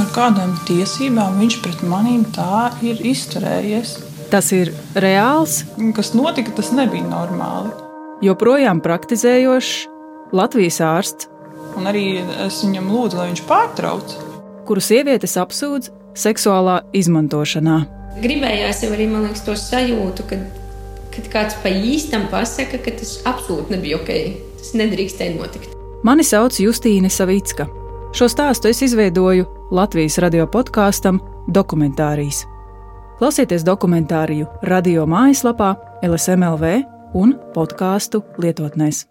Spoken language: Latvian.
Ar kādām tiesībām viņš pret maniem tā ir izturējies? Tas ir reāls, Kas notika, tas nebija normāli. joprojām praktizējošs Latvijas ārsts, Un arī es viņam lūdzu, lai viņš pārtrauc. kuru sievietes apsūdz seksuālā izmantošanā. Gribējās jau arī, man liekas, to sajūtu, kad, kad kāds pa īstam pasaka, ka tas absolūti nebija ok. Tas nedrīkstēja notikt. Mani sauc Justīne Savicka. Šo stāstu es izveidoju Latvijas radio podkāstam Dokumentārijas. Klausieties dokumentāriju radio mājaslapā, LSMLV un podkāstu lietotnēs.